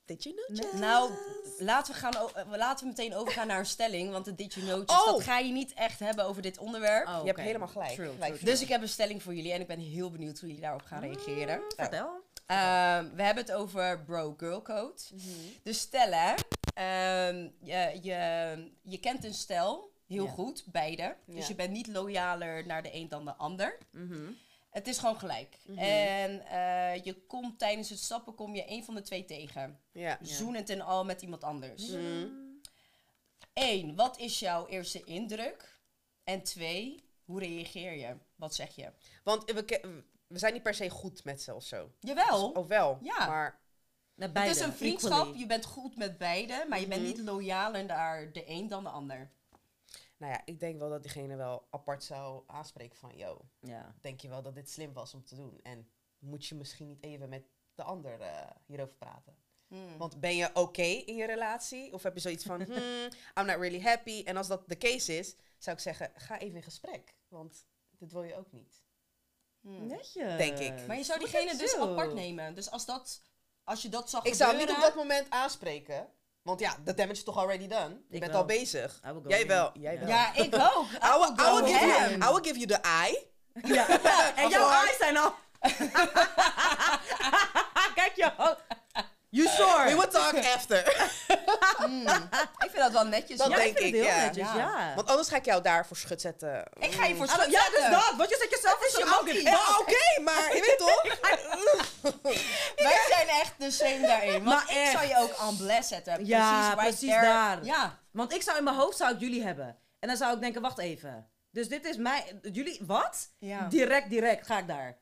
Did you know Jess?
Nou, laten we, gaan o- eh, laten we meteen overgaan naar een stelling. Want de Did You Notice,
Oh.
dat ga je niet echt hebben over dit onderwerp.
Oh,
Je hebt
oké.
helemaal gelijk.
True,
Gelijk.
true, true.
Dus ik heb een stelling voor jullie en ik ben heel benieuwd hoe jullie daarop gaan reageren.
Mm, Vertel.
Ehm, we hebben het over bro-girl code.
Mhm.
Dus stellen, ehm, je, je, je kent een stel heel
Ja.
goed, beide. Dus
Ja.
je bent niet loyaler naar de een dan de ander.
Mhm.
Het is gewoon gelijk.
Mhm.
En eh, je komt tijdens het stappen kom je een van de twee tegen.
Ja.
Ja.
Zoenend en al met iemand anders.
Mm.
Eén, wat is jouw eerste indruk? En twee, hoe reageer je? Wat zeg je?
Want we, ke- we zijn niet per se goed met ze of zo.
Jawel.
Oh, wel.
Ja.
Maar
Naar beide,
het is een vriendschap,
equally.
je bent goed met beide, maar je
Mhm.
bent niet loyaler naar de een dan de ander.
Nou ja, ik denk wel dat diegene wel apart zou aanspreken van... Yo,
Ja.
denk je wel dat dit slim was om te doen? En moet je misschien niet even met de ander eh, hierover praten?
Hmm.
Want ben je oké in je relatie? Of heb je zoiets van, hmm, I'm not really happy? En als dat de case is, zou ik zeggen, ga even in gesprek. Want dit wil je ook niet.
Hmm.
Netjes.
Denk ik.
Maar je zou
Goed
diegene
zo.
dus apart nemen. Dus als, dat, als je dat zag
Ik zou hem niet
gebeuren...
op dat moment aanspreken. Want ja, the damage is toch already done? Je
Ik
bent
wel.
al bezig.
I will go
Jij
in.
wel, jij wel.
Ja, ik ook.
I will, I will
go
give you,
ham.
I will give you the eye.
Ja. En jouw
Apart.
eyes zijn al... Kijk jou. You sure?
We will talk after.
Ik vind dat wel netjes.
Dat
hoor.
ja, ik
denk
vind het
ik,
heel
ja.
netjes,
Ja.
ja.
Want anders ga ik jou daarvoor schut zetten.
Ik ga je voor
Ah,
schut
ja, dus
zetten.
dat. Want je zet jezelf als je ook in.
Maar oké, maar je weet toch?
Wij zijn echt de same daarin. Want
Maar
ik
echt.
zou je ook aan bless zetten.
Ja,
precies, right
precies
there.
daar.
Ja.
Want ik zou in mijn hoofd zou ik jullie hebben. En dan zou ik denken, wacht even. Dus dit is mij... Jullie... Wat?
Ja.
Direct, direct ga ik daar.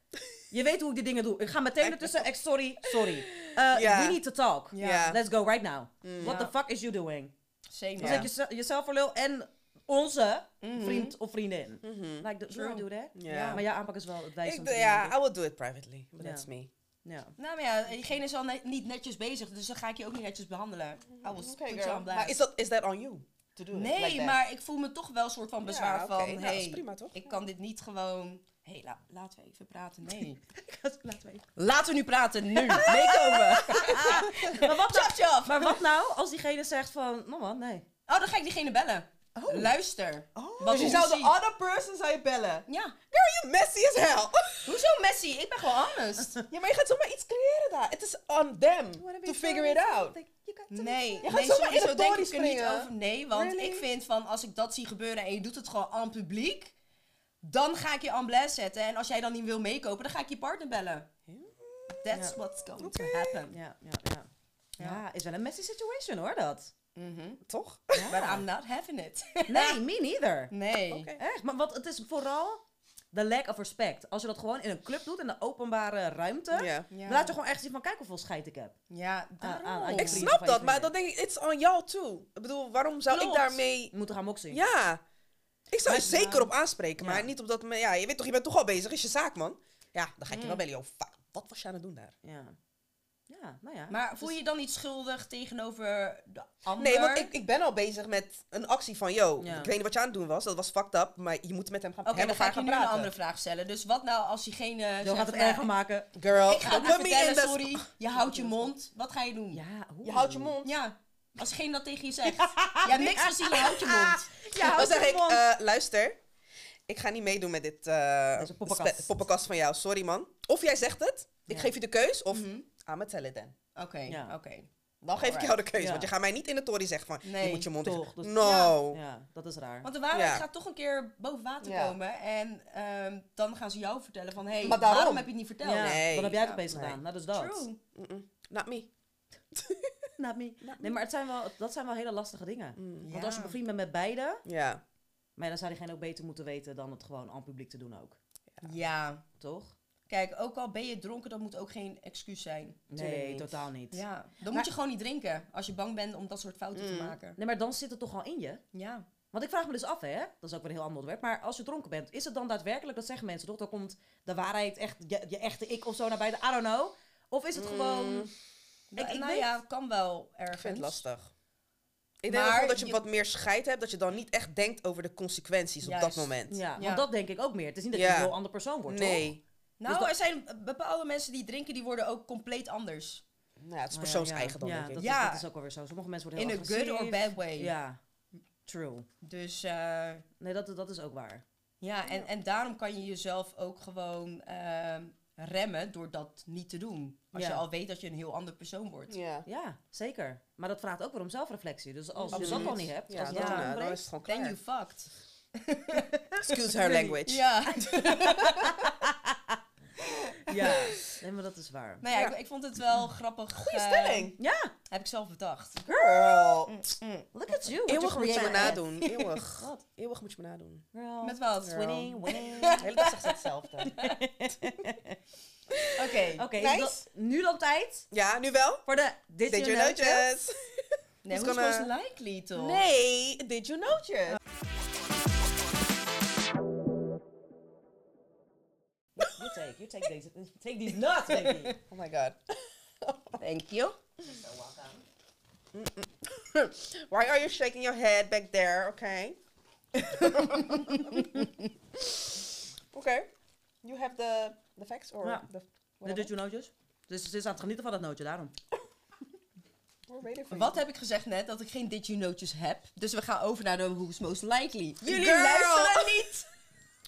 Je weet hoe ik die dingen doe. Ik ga meteen ertussen. Ik, sorry, sorry. Eh,
Ja.
We need to talk.
Ja.
Ja.
Let's go right now. What
Ja.
the fuck is you doing?
Same.
Dan
Ja.
zet je ze- jezelf voor lul en onze vriend of vriendin. Like, do, do I
True.
do that?
Ja.
Maar jouw aanpak is wel het wijze
Ik,
om te doen,
ja,
denk
I will do it privately. But
Ja.
that's me.
ik. ja.
Nou maar ja, diegene is al net- niet netjes bezig, dus dan ga ik je ook niet netjes behandelen. I was
Oké,
put you on blast.
Maar is dat is that on you? To do it
nee,
like that?
maar ik voel me toch wel een soort van bezwaar
Ja, oké.
van,
Nou, dat
hey,
is prima, toch?
ik kan dit niet gewoon... hey, la- laten we even praten. Nee.
Laten we even-
laten we nu praten, nu. Meekomen.
maar, wat nou,
Chaf, chaf.
maar wat nou als diegene zegt van, mama, nee.
Oh, dan ga ik diegene bellen. Luister.
Oh,
Wat
dus je
hoe
zou de
zie-
other person zou je bellen.
Ja.
Girl, you messy as hell.
Hoezo messy? Ik ben gewoon honest.
ja, maar je gaat zomaar iets creëren daar. Het is on them to figure it out.
Nee,
gaat
nee
zomaar
sorry,
in de
zo denk
tories
ik er niet
springen.
over. Nee, want
Really?
ik vind van als ik dat zie gebeuren en je doet het gewoon aan het publiek, dan ga ik je en blast zetten. En als jij dan niet wil meekopen, dan ga ik je partner bellen. That's
Ja.
what's going to happen.
Ja, ja, ja. Ja, is wel een messy situation hoor, dat.
Toch?
But I'm not having it.
Nee, me neither.
nee.
Oké.
Echt, maar wat, het is vooral de lack of respect. Als je dat gewoon in een club doet, in een openbare ruimte,
Ja.
Ja.
dan laat je gewoon echt zien van, kijk hoeveel scheid ik heb.
Ja,
aan-
daarom.
aan je
Ah, Ik
vrienden
snap
van je
dat, maar
vriendin.
dan denk ik, it's on y'all too. Ik bedoel, waarom zou ik
Klopt.
daarmee...
Je moet er gaan moksen.
Ja, ik zou er
Maar-
zeker op aanspreken,
Ja.
maar niet op dat moment. Ja, je weet toch, je bent toch al bezig, is je zaak, man. Ja, dan ga ik je wel bellen, joh. Fuck, wat was je aan het doen daar?
Ja, ja nou ja.
maar voel je je dan niet schuldig tegenover de ander?
Dus- Nee, want ik, ik ben al bezig met een actie van, yo,
Ja.
ik weet niet wat je aan het doen was, dat was fucked up, maar je moet met hem gaan,
Oké,
hem
dan
of
ga
haar
ik je
gaan
nu een
praten.
andere vraag stellen. Dus wat nou als diegene...
Zo
zegt,
gaat het
nou,
erger maken.
Girl,
Ik ga het
don't put
niet
me in
vertellen,
the-
sorry. Je houdt je mond. Wat ga je doen?
Ja,
Je houdt je mond.
Ja, als geen dat tegen je zegt. Je hebt niks gezien, je houdt je mond.
Ja,
Dan zeg ik, eh, luister, ik ga niet meedoen met dit eh,
Deze poppenkast.
spe- poppenkast van jou, sorry man. Of jij zegt het, ik
Ja.
geef je de keus, of
Mhm.
I'ma tell it then.
Oké,
Ja.
oké.
Ah. Dan geef ik
Alright.
jou de keus,
Ja.
want je gaat mij niet in de tory zeggen van, je
Nee,
moet je mond
toch,
dicht-
dat-
No.
Ja, dat is raar.
Want de waarheid
Ja.
gaat toch een keer boven water
Ja.
komen. En ehm, dan gaan ze jou vertellen van... Hé, hey,
Maar daarom-
waarom heb je het niet verteld?
ja,
Nee.
dan heb jij het
Ja,
opeens
nee.
gedaan. Nou, dus dat.
True.
Mm-mm. Not me.
Not me. Nee, maar het zijn wel, dat zijn wel hele lastige dingen. Want als je
Ja.
bevriend bent met beide,
Mm. Ja.
maar ja, dan zou diegene ook beter moeten weten dan het gewoon aan publiek te doen ook.
Ja.
Toch?
Kijk, ook al ben je dronken, dat moet ook geen excuus zijn.
Nee,
niet.
totaal niet.
Ja, dan moet je gewoon niet drinken. Als je bang bent om dat soort fouten
Mm.
te maken.
Nee, maar dan zit het toch al in je?
Ja.
Want ik vraag me dus af, hè, dat is ook weer een heel ander onderwerp, maar als je dronken bent, is het dan daadwerkelijk, dat zeggen mensen toch, dan komt de waarheid, echt, je, je echte ik of zo naar buiten, I don't know. Of
Mm,
is het gewoon...
Ik,
ik
nou
weet-
ja, kan wel ergens.
Ik vind het lastig. Ik denk
Maar
ook wel dat je,
je-
wat meer scheid hebt, dat je dan niet echt denkt over de consequenties op dat
Juist.
moment.
Ja,
Ja.
want dat denk ik ook meer. Het is niet dat je
Ja.
een heel ander persoon wordt, toch?
Nee.
Nou,
Dus dat-
er zijn bepaalde mensen die drinken, die worden ook compleet anders.
Nou ja, het is
Maar ja,
persoonseigen dan,
ja,
denk ik.
Dat,
Ja.
Is, dat is ook wel weer zo. Sommige mensen worden
In
heel
a good or
agressief.
bad way.
Ja, true.
Dus eh,
Nee, dat, dat is ook waar.
ja, en, en daarom kan je jezelf ook gewoon ehm, remmen door dat niet te doen. Als
Ja.
je al weet dat je een heel ander persoon wordt.
Ja.
Ja, zeker. Maar dat vraagt ook weer om zelfreflectie. Dus als je
Absoluut.
dat al niet hebt,
Ja,
als
dan,
dat
Ja.
al
eh, dan
ontbreekt,
is het gewoon
Then
klaar.
you fucked.
Excuse her language.
Ja.
Ja, nee, maar dat is waar.
Nou ja,
Ja.
Ik, ik vond het wel grappig.
Goeie
eh,
stelling.
Ja,
Heb ik zelf bedacht.
Girl.
look at you. what
Mm. Eeuwig
you
moet je me
created.
nadoen. Eeuwig. Eeuwig moet je me nadoen.
Girl,
Met wat?
Winning, winning.
De hele dag zegt ze hetzelfde.
Oké.
Oké, dus
Nice.
dat- nu dan tijd
Ja, nu wel?
voor de Did,
Did
You
you
Know It?
notice?
Nee,
Who's
who's
gonna-
most likely toch?
Dus eh, Nee, did you notice?
You take, you take these, take these nuts, baby.
Oh my god.
Thank you.
Why are you shaking your head back there? Okay. okay. You have the the facts or
Ja.
the
De
whatever?
Did You Nootjes. Dus ze is aan het genieten van dat nootje, daarom.
We're waiting for
Wat
you.
heb ik gezegd net? Dat ik geen Did You Notice heb. Dus we gaan over naar de Who's Most Likely. Jullie
Girl.
luisteren niet.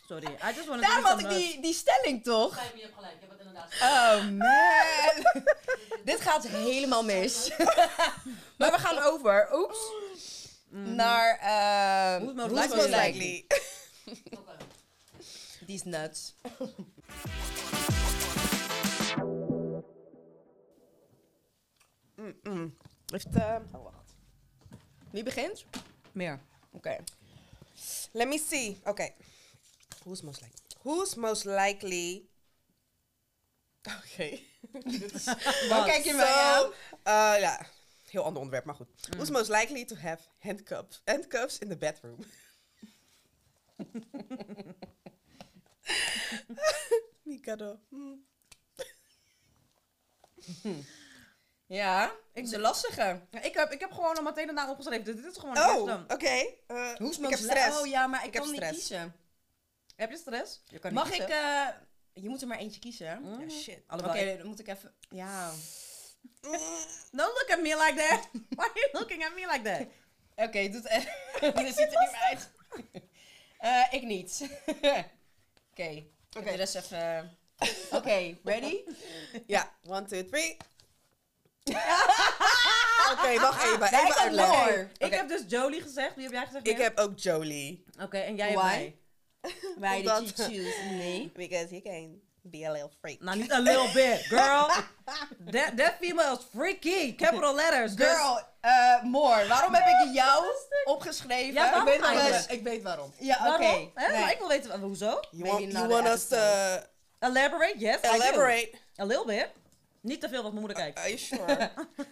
Sorry, I just wanted
Daarom
to
had ik die, die stelling toch?
je hebt gelijk, ik heb het inderdaad.
Oh man. Dit gaat helemaal mis. maar we gaan over. Oeps.
Mm.
Naar eh
Who's Most
Who's
Likely.
Oké.
Die is nuts.
Mm.
Mm-mm. Heeft, eh, oh, wacht.
Wie begint?
Meer.
Oké.
Let me see. Okay. Who's most likely? Who's most likely? Okay.
Dan kijk je mij aan.
So, eh, ja, heel ander onderwerp, maar goed.
Mm.
Who's most likely to have handcuffs, handcuffs in the bedroom? Mikado. Hmm.
Ja, ik is een lastige.
Ik heb, ik heb gewoon al meteen daarna opgeschreven. Dit is gewoon
Oh,
oh.
oké. Eh,
Who's most
ik heb
li-
stress.
Oh ja, maar ik,
Ik heb
kan niet
stress.
kiezen.
Heb je stress? eh, Je kan
Mag ik... eh, je moet er maar eentje kiezen. hè?
mm.
Ja, shit.
Oké,
Allebei.
dan moet ik even... Ja.
Don't look at me like that. Why are you looking at me like that?
Oké, doe het echt. Dit ziet er niet meer uit. Eh, ik niet. Oké. Oké. De rest even... Oké, ready?
Ja, one, two, three. Oké, wacht even.
Wij
Even
gaan
uitleggen.
door.
Oké,
Ik heb dus Jolie gezegd. Wie heb jij gezegd?
ik
Meer?
heb ook Jolie.
Oké, en jij hebt
Why?
mij. Dus
Why did you
Omdat-
choose me?
Because you can be a little freak.
Nou, niet a little bit, girl. that, that female is freaky. Capital letters. dus-
Girl, eh more. Waarom heb ik jou opgeschreven?
Ja, waarom
ik weet nog
eigenlijk?
eens- Ik weet waarom. Ja, oké.
Waarom? Hè?
Nee.
Maar Eh, nou, ik wil weten, wa- hoezo?
You
Maybe
want, you
not
want
an
us to
Elaborate, yes. I do.
elaborate?
A little bit. Niet te veel wat moeder kijkt.
Are you sure?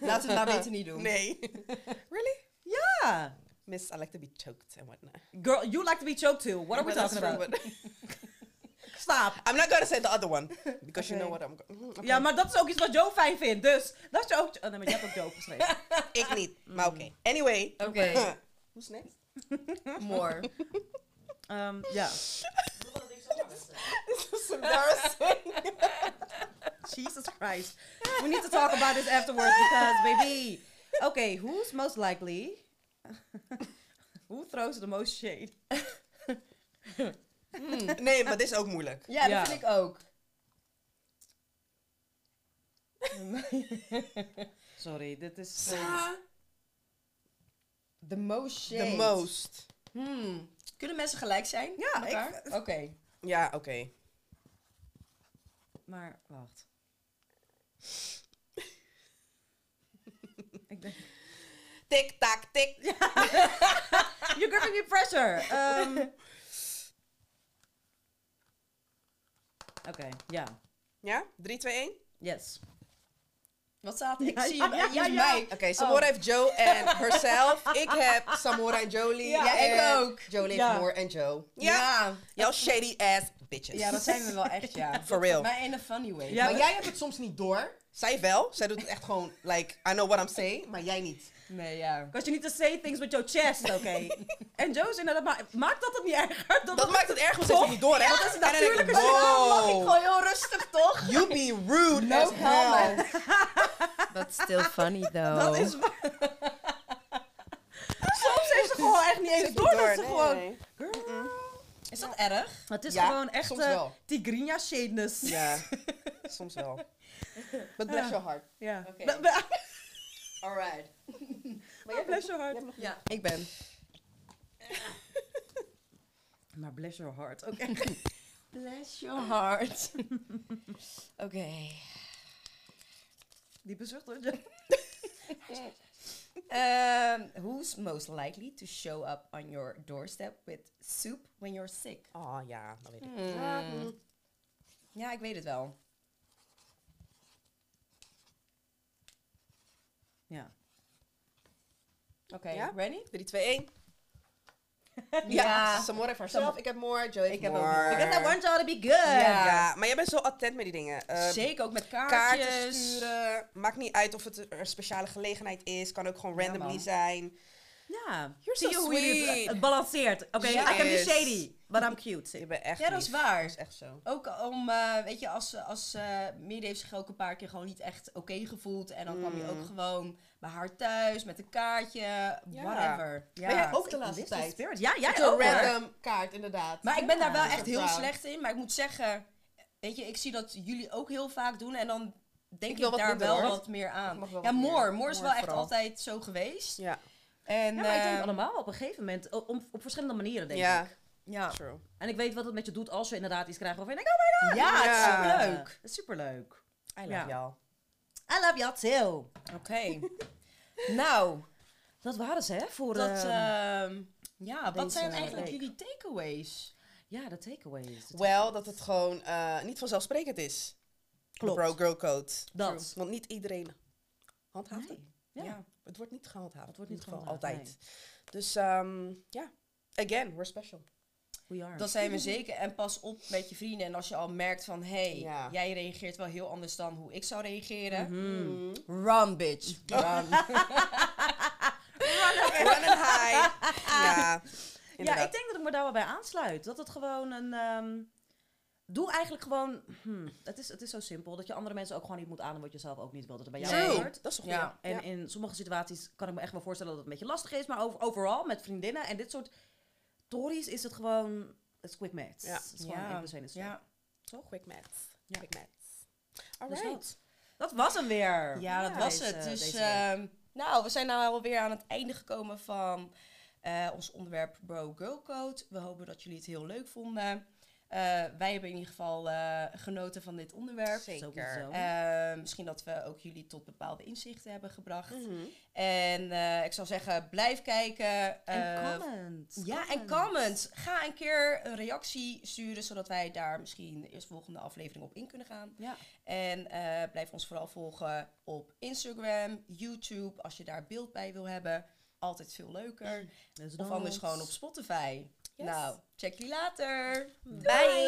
Laten we het maar beter niet doen.
nee. really?
Ja.
Miss, I like to be choked and whatnot.
Girl, you like to be choked too. What are we
But that's
talking
true,
about?
but-
Stop.
I'm not gonna say the other one because you
Okay.
know what I'm mm-hmm. going.
Ja, maar dat is ook iets wat Joe fijn vindt. Dus dat je ook... Oh, nee, maar jij hebt ook Joe geschreven.
Ik niet, maar
Mm.
oké. Anyway,
Oké,
who's next?
more.
Ehm, ja.
This is embarrassing.
Jesus Christ. We need to talk about this afterwards because, baby. Okay, who's most likely? Who throws the most shade?
nee, maar dit is ook moeilijk.
Ja,
Ja.
dat vind ik ook.
Sorry, dit is.
The most shit.
The most.
Hmm. Kunnen mensen gelijk zijn?
Ja,
met
ik-
elkaar? Oké.
Ja, oké.
maar wacht. Ik denk.
Tik tak tik.
You're giving me pressure. Ehm, Oké, ja.
Ja, 3, 2, 1.
Yes.
Wat staat er? Ik
Ja,
zie
ja,
hem. Oh, Ja,
ja, ja.
mij.
Oké, Samora heeft Joe en herself. ik heb Samora en Jolie.
Ja, ik
en
ook.
Jolie
Ja.
heeft Moore en Joe.
Ja.
Y'all shady ass bitches.
Ja, dat zijn we wel echt, ja.
For real.
Maar in a funny way.
Ja,
Maar
maar
we-
jij hebt het soms niet door. Zij wel. Zij doet het echt gewoon, like, I know what I'm saying, maar jij niet.
Nee, ja.
Because you need to say things with your chest, okay? en Joe is inderdaad, maar maakt dat het niet erger? dan
Dat maakt het erg, want ze heeft het niet door, hè?
Oh, dat is
En dan denk ik,
natuurlijk een
Dan mag ik
wow,
gewoon heel rustig, toch?
you be rude as hell.
comment. But still funny, though.
Dat is waar. Soms heeft ze gewoon echt niet eens door dat ze gewoon... Girl.
Is dat erg?
Het is
Ja,
gewoon echt
soms
eh
wel.
Tigrinha shadeness. Ja.
Ja, soms wel. But bless your heart.
Oké.
Bla- bla-
Alright.
bless your heart.
Ja, ik ben.
Oh, Maar bless your heart, oké.
Bless your heart. Oké.
Die bezucht hoor. Ja.
Ehm, who's most likely to show up on your doorstep with soup when you're sick?
Oh ja, dat weet ik.
Hmm. Ja, ik weet het wel.
Ja.
Oké,
Ja?
ready?
3, 2, 1. Ja,
Ja.
Samora heeft haarzelf. Ik heb more, Joe heeft
Ik heb ook
more.
more.
Because I want y'all to be good.
Ja.
Ja.
maar jij bent zo attent met die dingen. Eh,
Zeker ook met kaartjes.
kaarten sturen. Maakt niet uit of het een een speciale gelegenheid is. Kan ook gewoon
Ja,
randomly
man.
zijn.
Ja.
You're
Zie
so
je hoe je het,
sweet.
het balanceert. Oké, I can be
Yes.
shady, but I'm cute.
Je bent echt
Ja, dat is
lief.
waar.
is echt zo.
Ook om, eh, weet je, als, als eh Miri heeft zich ook een paar keer gewoon niet echt oké gevoeld. En dan kwam je
Mm.
ook gewoon bij haar thuis met een kaartje, whatever. Ja.
Ben jij ook de
Ik
laatste
wist die
tijd?
spirit. Ja, jij
Zo'n
ook hoor.
random kaart, inderdaad.
Maar ik ben daar wel
Ja.
echt heel
Ja.
slecht in. Maar ik moet zeggen, weet je, ik zie dat jullie ook heel vaak doen. En dan denk
Ik
ik,
wil wat
daar
minder,
wel
hoor.
wat meer aan.
Ik mag wel
ja,
wat meer.
Moor. Moor is
Moor
wel echt
vooral.
altijd zo geweest.
Ja,
En,
Ja, maar ik denk
eh,
allemaal op een gegeven moment. o- om- op verschillende manieren denk
ja
ik. Ah.
ja.
true.
En ik weet wat het met je doet als je inderdaad iets krijgt waarvan je denkt,
ja, het is
Ja.
superleuk.
oh, superleuk.
I love
Ja.
y'all.
I love you too.
Oké. nou,
Dat waren ze, hè? Voor,
dat,
ehm,
ehm, ja, wat
deze
zijn eigenlijk
week.
jullie takeaways?
ja, de takeaways. De
Wel, dat het gewoon eh, niet vanzelfsprekend is.
Klopt.
De bro-girl code.
Dat.
True. Want niet iedereen handhaaft het.
Nee. Ja. nou,
Het wordt niet gehandhaafd.
Het wordt
In
niet
ieder geval
gehandhaafd,
Altijd. Dus ehm, ja, again, we're special.
We are.
Dat zijn we zeker. En pas op met je vrienden. En als je al merkt van, hé, hey,
Ja.
jij reageert wel heel anders dan hoe ik zou reageren.
Mhm.
Mm.
Run, bitch. Run.
Run and hide. ja,
Ja,
inderdaad.
ik denk dat ik me daar wel bij aansluit. Dat het gewoon een... ehm, doe eigenlijk gewoon... hm, het, is, het is zo simpel. Dat je andere mensen ook gewoon niet moet aan... wat je zelf ook niet wilt dat er bij jou
Nee.
gebeurt.
Dat is toch
Ja.
En in sommige situaties kan ik me echt wel voorstellen dat het een beetje lastig is. Maar over, overal met vriendinnen en dit soort tories is het gewoon... Het is quick match.
Ja.
Het is gewoon
Ja.
één plus één is twee.
ja.
Quick maths.
Ja.
Quick maths.
Dus
Alright.
dat, dat was hem weer.
ja, dat was
Deze-
het. Dus
deze week.
ehm, nou, we zijn nou alweer aan het einde gekomen van eh, ons onderwerp Bro Girl Code. We hopen dat jullie het heel leuk vonden. Eh, wij hebben in ieder geval eh, genoten van dit onderwerp.
Zeker.
Sowieso.
Eh, misschien dat we ook jullie tot bepaalde inzichten hebben gebracht.
Mm-hmm.
En eh, ik zou zeggen, blijf kijken.
en
eh,
comments.
Ja, en comments. Ga een keer een reactie sturen, zodat wij daar misschien de eerstvolgende aflevering op in kunnen gaan.
Ja.
En eh, blijf ons vooral volgen op Instagram, YouTube, als je daar beeld bij wil hebben. Altijd veel leuker.
Dus
Of anders
dat.
gewoon op Spotify. Nou, check jullie later.
Bye.